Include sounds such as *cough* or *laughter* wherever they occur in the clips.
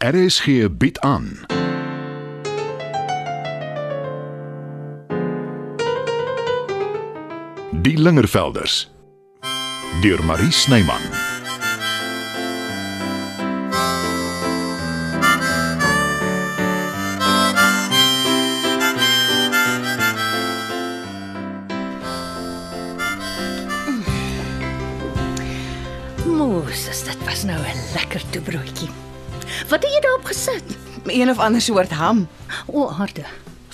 RSG bied aan. Die Lingervelders deur Marie Snyman. Moes, dit was nou 'n lekker toebroodjie. Wat het jy daarop gesit? een of ander soort ham. O, harde.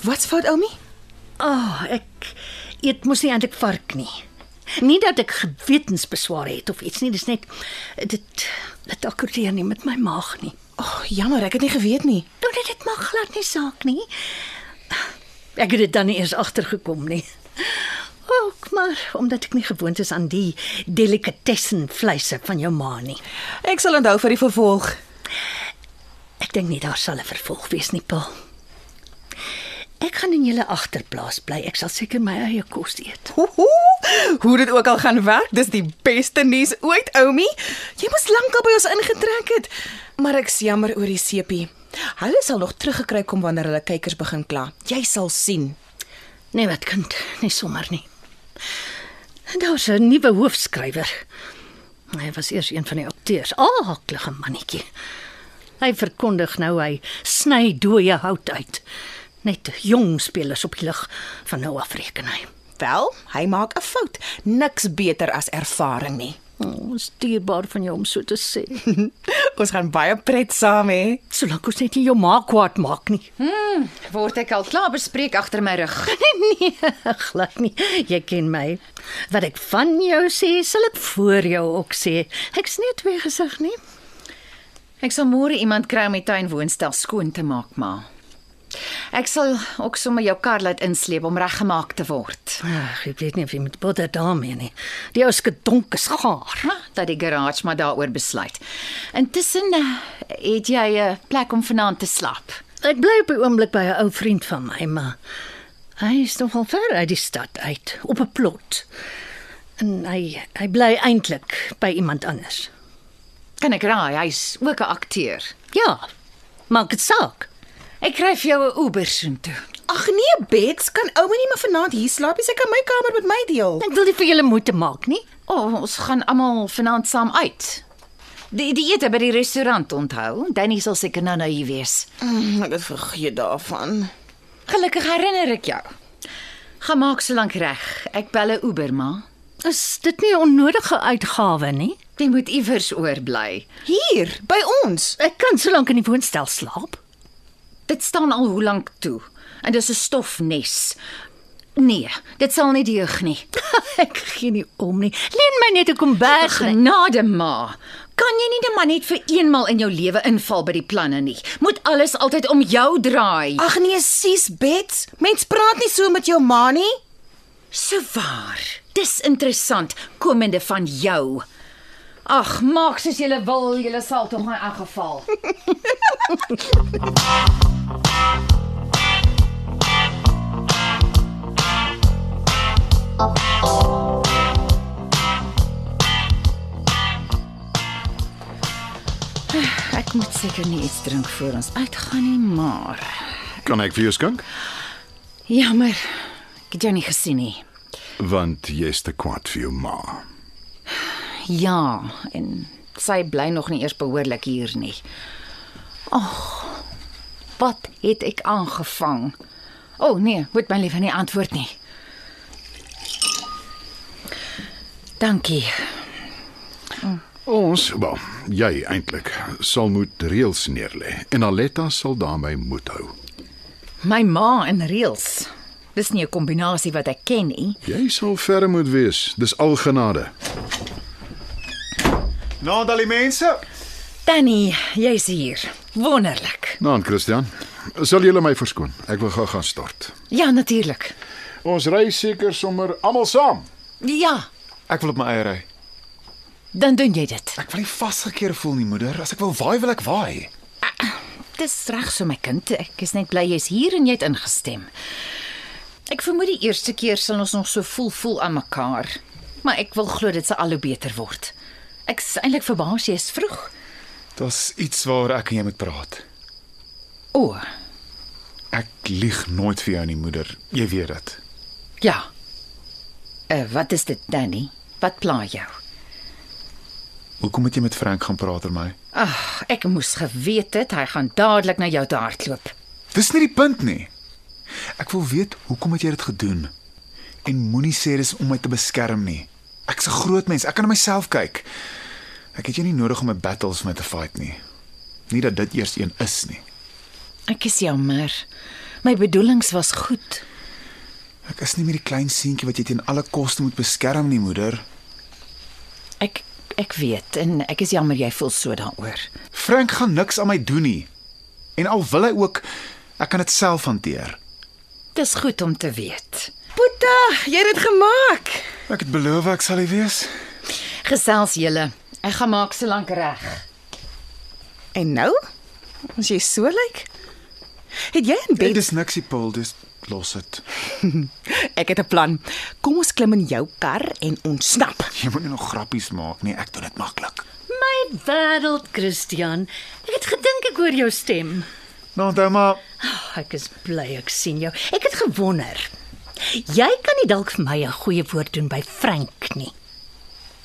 Wat's fout, Oumi? Ah, oh, ek eet mos nie eintlik vark nie. Nie dat ek gewetensbesware het of iets nie, dis net dit dit akkordeer nie met my maag nie. O, oh, jammer, ek het nie geweet nie. Nou dit dit maak glad nie saak nie. Ek het dit dan nie eers agtergekom nie. Ook maar omdat ek nie gewoond is aan die delikatessen vleise van jou ma nie. Ek sal onthou vir die vervolg. Ek dink nie daar sal 'n vervolg wees nie, Paul. Ek gaan in julle agterplaas bly. Ek sal seker my eie kos eet. Ho, ho, hoe dit ook al gaan werk, dis die beste nuus ooit, Oumi. Jy moes lankal by ons ingetrek het. Maar ek's jammer oor die seepie. Hulle sal nog teruggekry kom wanneer hulle kykers begin kla. Jy sal sien. Nee, wat kind, nie sommer nie. Daar's 'n nuwe hoofskrywer. Hy was eers een van die akteurs. Aaklige mannetjie. Hy verkondig nou hy sny dooie hout uit. Net jong spelers op die lig van nou af reken hy. Wel, hy maak 'n fout. Niks beter as ervaring nie. Ons oh, dierbaar van jou om so te sê. Ons gaan baie pret saam hê. Solank ons net nie jou ma kwaad maak nie. Word ek al klaar Ja, bespreek agter my rug. *laughs* Nee, glad nie. Jy ken my. Wat ek van jou sê, sal ek voor jou ook sê. Ek's nie twee gesig nie. Ek sal môre iemand kry om die tuinwoonstel skoon te maak, ma. Ek sal ook sommer jou kar laat insleep om reggemaak te word. Ag, ek weet nie of jy met botter daarmee nie. Die ou skedonk is gaar. Ha, dat die garage maar daaroor besluit. Intussen eh, het jy 'n plek om vanaand te slaap. Ek bly op die oomblik by 'n ou vriend van my, maar hy is nogal ver uit die stad uit, op 'n plot. En hy hy bly eintlik by iemand anders. Kan ek raai, hy's ook 'n akteur. Ja. Maak dit saak. Ek kry vir jou 'n Uber soontoe. Ag nee, Bets, kan Oumi nie maar vanaand hier slaap nie. Sy kan my kamer met my deel. Ek wil nie vir julle moeite maak nie. O, oh, ons gaan almal vanaand saam uit. Die die ete by die restaurant onthou. Danny sal seker nou nou hier wees. Mm, ek het vergeet daarvan. Gelukkig herinner ek jou. Gaan maak solank reg. Ek bel 'n Uber, ma. Is dit nie 'n onnodige uitgawe nie? Jy moet iewers oorbly. Hier, by ons. Ek kan solank in die woonstel slaap. *laughs* Dit staan al hoe lank toe en dis 'n stofnes. Nee, dit sal nie deug nie. Ek gee nie om nie. Leen my net 'n kombers. Genade ma, kan jy nie net maar net vir eenmal in jou lewe inval by die planne nie. Moet alles altyd om jou draai. Ag nee, sies, Bets. Mens praat nie so met jou ma nie. So waar. Dis interessant komende van jou. Ag, maak soos jy wil, jy sal tog in elk geval. Ek moet seker nie iets drink voor ons uitgaan nie, maar Kan ek vir jou skink? jammer. Ek het jou nie gesien nie. Want jy's te kwaad vir jou ma. Ja, en sy bly nog nie eers behoorlik hier nie. Ag, wat het ek aangevang? O oh, nee, moet my liewe nie antwoord nie. Dankie. Ons, wel, jy eintlik sal moet reëls neerlê en Aletta sal daarmee moet hou. My ma en reels. Dis nie 'n kombinasie wat ek ken nie. Jy sal ferm moet wees. Dis al genade. Nou dan die mense. Danny, jy's hier. Wonderlik. Naan Nou, Christian, sal julle my verskoon. Ek wil gou gaan stort. Ja, natuurlik. Ons ry seker sommer almal saam. Ja, Ek wil op my eie ry. dan doen jy dit. Ek wil nie vasgekeer voel nie, moeder. As ek wil waai, wil ek waai. Dis reg so my kind. Ek is net bly jy's hier en jy het ingestem. Ek vermoed die eerste keer sal ons nog so voel voel aan mekaar, maar ek wil glo dit sal al hoe beter word. Ek is eintlik verbaas jy is vroeg. Daar's iets waar ek en jy moet praat. O, Ek lieg nooit vir jou nie, moeder. Jy weet dit. ja. Uh, wat is dit, Danny? Wat pla jou? Hoekom moet jy met Frank gaan praat oor my? Ag, ek moes geweet het hy gaan dadelik na jou te hardloop. Dis nie die punt nie. Ek wil weet hoekom het jy dit gedoen? En moenie sê dis om my te beskerm nie. Ek's 'n groot mens, ek kan na myself kyk. Ek het jou nie nodig om 'n battles met te fight nie. Nie dat dit eers een is nie. Ek is jammer. My bedoelings was goed. Ek is nie meer die klein seentjie wat jy teen alle koste moet beskerm nie, moeder. Ek ek weet en ek is jammer jy voel so daaroor. Frank gaan niks aan my doen nie. En al wil hy ook, ek kan dit self hanteer. Dis goed om te weet. Boeta, jy het dit gemaak. Ek het beloof ek sal hy wees. Gesels julle. Ek gaan maak so lank reg. En nou? As jy so lyk. Like, het jy in Dit bed? is niks, die Paul, dis los dit. Ek het 'n plan. Kom ons klim in jou kar en ontsnap. Jy moenie nog grappies maak nie, ek doen dit maklik. My wêreld, Christian. Ek het gedink ek hoor jou stem. Nou, onthou maar Ag, Ek is bly ek sien jou. Ek het gewonder. Jy kan nie dalk vir my 'n goeie woord doen by Frank nie.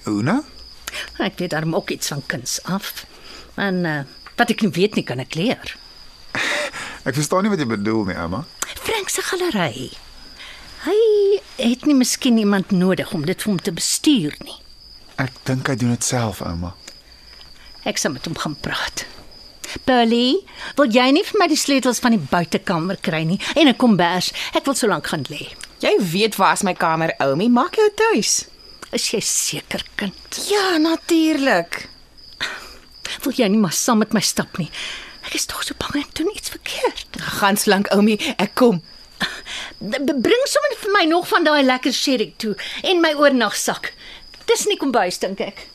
Hoe nou? Ek weet daarom ook iets van kuns af. En uh, wat ek nie weet nie kan ek leer. Ek verstaan nie wat jy bedoel nie, Emma. Frank se galery. Hy het nie miskien iemand nodig om dit vir hom te bestuur nie. Ek dink hy doen dit self, Emma. Ek sal met hom gaan praat. Polly, wil jy nie vir my die sleutels van die buitekamer kry nie en 'n kombers? Ek wil so lank gaan lê. Jy weet waar's my kamer, Oumi? Maak jou tuis. Is jy seker, kind? Ja, natuurlik. Wil jy nie maar saam met my stap nie? Ek is tog so bang ek doen iets verkeerd. Gaan slank, Oumi, ek kom. B- b- Bring sommer vir my nog van daai lekker sherry toe en my oornagsak. Dis nie kombuis dink ek.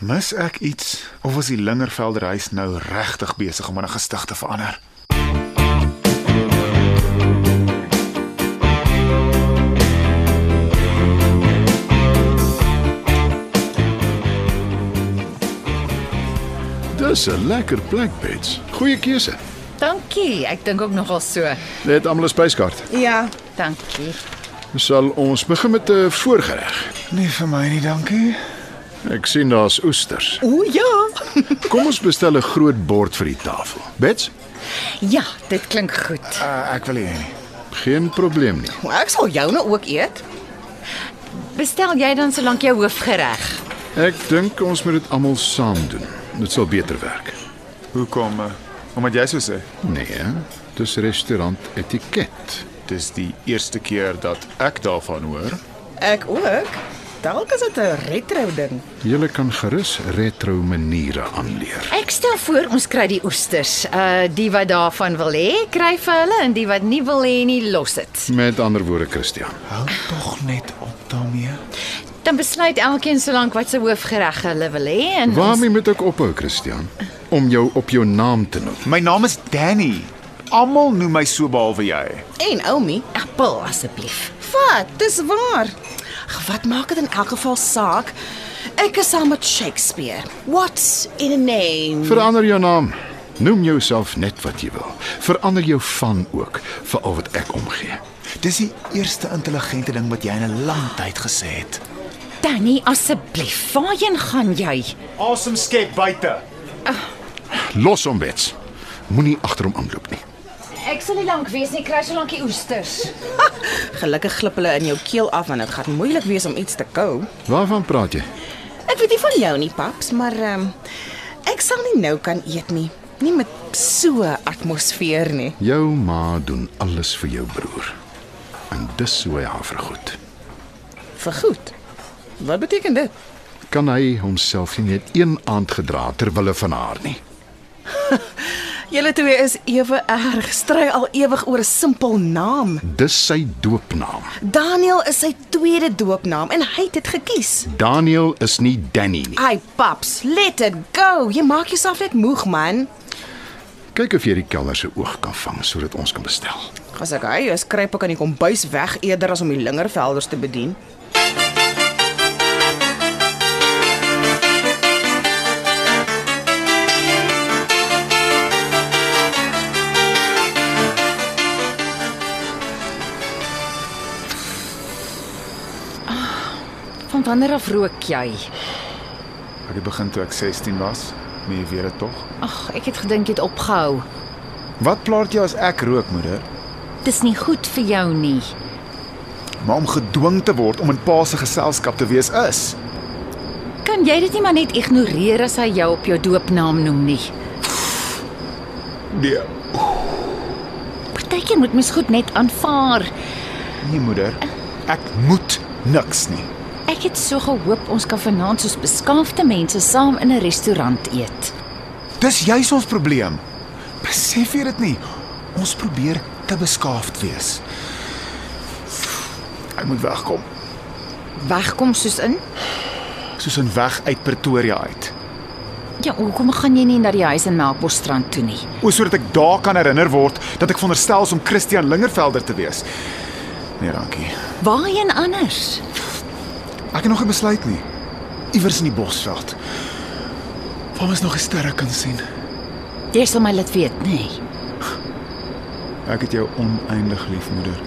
Mis ek iets of is die Lingervelder huis nou regtig besig om in 'n gestig te verander? Dis 'n lekker plek, Bets. Goeie keuse. Dankie. Ek dink ook nogal so. Net almal 'n spyskaart. Ja, Dankie. Sal ons begin met eh, 'n voorgereg. Nee vir my nie, dankie. Ek sien daar's oesters. o ja. Kom ons bestel 'n groot bord vir die tafel. Bets, Ja, dit klink goed. Uh, ek wil nie hê nie. geen probleem nie. Maar ek sal jou nou ook eet. Bestel jy dan solank jou hoofgereg. Ek dink ons moet dit almal saam doen. Dit sal beter werk. Hoekom? Uh, omdat jy so sê. Nee, hè? dis restaurant etiket. Dis die eerste keer dat ek daarvan hoor. Ek ook. Dalk is dit 'n retro ding. Jy kan gerus retro maniere aanleer. Ek stel voor ons kry die oesters. Uh die wat daarvan wil hê, kry vir hulle en die wat nie wil hê nie, los dit. Met ander woorde, Christian. Hou tog net op daarmee. Dan besluit elkeen solank wat sy hoofgereg hulle wil hê en Waarmee moet ek ophou, Christian? Om jou op jou naam te noem. My naam is Danny. Almal noem my so behalwe jy. En Oumi, ons appel asseblief. wat? Dis waar. Ag, Wat maak dit in elk geval saak? Ek is saam met Shakespeare. What's in a name? Verander jou naam. Noem jouself net wat jy wil. Verander jou van ook vir al wat ek omgee. Dis die eerste intelligente ding wat jy in 'n lang tyd gesê het. Danny, asseblief, waarheen gaan jy? Awesome skep buite. Los hom bets. Moenie agter hom aanloop nie. Ek sal nie lank wees nie, kry solank die oesters. Gelukkig glip hulle in jou keel af en dit gaan moeilik wees om iets te kou. Waarvan praat jy? Ek weet nie van jou nie, paps, maar ehm um, ek sal nie nou kan eet nie. Nie met so 'n atmosfeer nie. Jou ma doen alles vir jou broer. En dis hoe hy haar vergoed. Vergoed. Wat beteken dit? Kan hy homself nie net een aand gedra terwyl hy van haar nie. Julle twee is ewe erg, stry al ewig oor 'n simpel naam. Dis sy doopnaam. Daniel is sy tweede doopnaam en hy het dit gekies. Daniel is nie Danny nie. Ai paps, let it go. Jy maak jouself net moeg man. Kyk of jy die kelner se oog kan vang sodat ons kan bestel. As ek hy is kruip ek in die kombuis weg eerder as om die lingervelders te bedien. Van wanneer af rook jy? Ek het begin toe ek 16 was. Nee, jy weet dit tog. Ag, ek het gedink jy het opgehou. Wat plaat jou as ek rook, moeder? Dis nie goed vir jou nie. Maar om gedwing te word om in pa se geselskap te wees is. Kan jy dit nie maar net ignoreer as hy jou op jou doopnaam noem nie? Nee, Partykeer moet mens goed net aanvaar. nee moeder. Ek moet niks nie. Ek het so gehoop ons kan vanaand soos beskaafde mense saam in 'n restaurant eet. Dis juis ons probleem. Besef jy dit nie? Ons probeer te beskaafd wees. Ek moet wegkom, Wegkom soos in? soos 'n weg uit Pretoria uit. Ja, hoekom gaan jy nie na die huis in Melkbosstrand toe nie? O sodat ek daar kan herinner word dat ek veronderstel is om Christian Lingervelder te wees. Nee, dankie. Waarheen anders? Ek het nog nie besluit nie. Iewers in die bosveld. Waar mens nog 'n sterre kan sien. Jy sal my laat weet, nê? Nee. Ek het jou oneindig lief, moeder.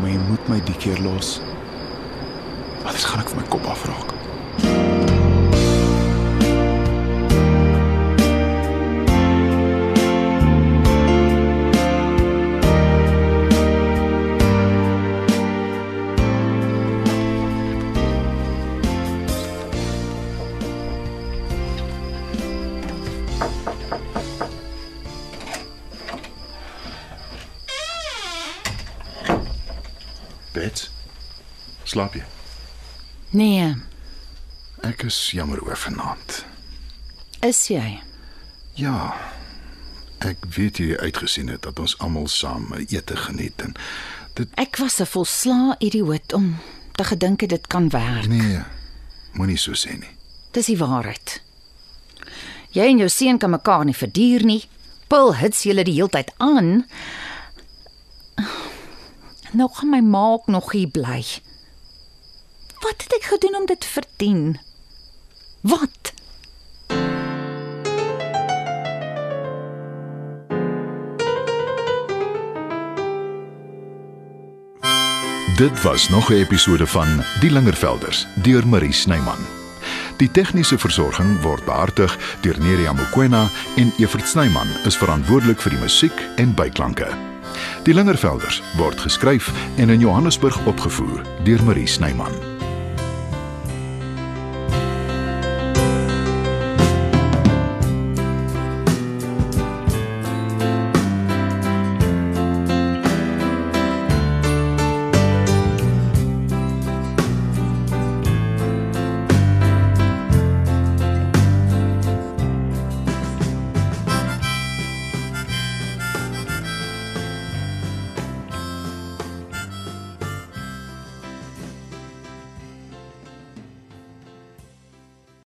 Maar jy moet my die keer los. Anders gaan ek van my kop afraak. Bets. Slaap jy? Nee, Ek is jammer oor vanaand. is jy? Ja. Ek weet jy uitgesien het dat ons almal saam 'n ete geniet en dit Ek was 'n volslaa idioot om te gedink het dit kan werk. nee, moenie so sê nie. Dis die waarheid. Jy en jou seun kan mekaar nie verduur nie. Pil hits julle die heeltyd aan. Nou gaan my ma ook nog hier bly. Wat het ek gedoen om dit te verdien? Wat? Dit was nog 'n episode van Die Lingervelders deur Marie Snyman. Die tegniese versorging word behartig deur Neriya Mkwena en Evert Snyman is verantwoordelik vir die musiek en byklanke. Die Lingervelders word geskryf en in Johannesburg opgevoer deur Marie Snyman.